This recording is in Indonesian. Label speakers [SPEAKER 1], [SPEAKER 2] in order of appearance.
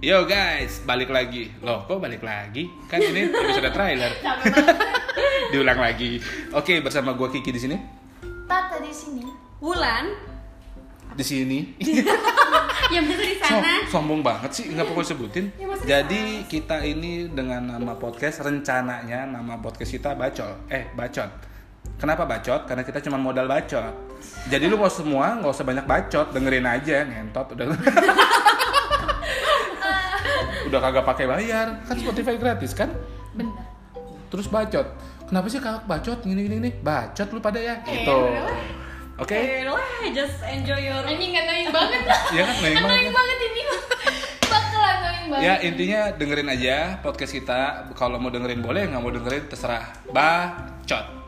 [SPEAKER 1] Yo guys, balik lagi. Loh, kok balik lagi? Kan ini episode trailer.
[SPEAKER 2] Capek banget.
[SPEAKER 1] Diulang lagi. Oke, bersama gua Kiki di sini.
[SPEAKER 2] Tata di sini.
[SPEAKER 3] Wulan
[SPEAKER 1] Di sini. Ih,
[SPEAKER 3] yang biasa ya di
[SPEAKER 1] som-
[SPEAKER 3] sana
[SPEAKER 1] sombong banget sih, nggak perlu sebutin.
[SPEAKER 3] Ya,
[SPEAKER 1] Jadi kita ini dengan nama podcast rencananya nama podcast kita bacol. Eh, bacot. Kenapa bacot? Karena kita cuma modal bacot. Jadi lu mau semua nggak usah banyak bacot, dengerin aja ngentot udah. udah kagak pakai bayar, kan Spotify gratis kan?
[SPEAKER 3] Iya. bener
[SPEAKER 1] terus bacot kenapa sih kakak bacot gini gini nih bacot lu pada ya
[SPEAKER 3] Eh,
[SPEAKER 1] gitu
[SPEAKER 3] udah.
[SPEAKER 1] oke
[SPEAKER 3] Eh, lah just enjoy your
[SPEAKER 2] Ini nggak naik banget.
[SPEAKER 1] ya kan
[SPEAKER 3] Kan
[SPEAKER 1] memang
[SPEAKER 3] annoying banget ini
[SPEAKER 2] Bakalan naik banget.
[SPEAKER 1] ya intinya dengerin aja podcast kita kalau mau dengerin boleh nggak mau dengerin terserah bacot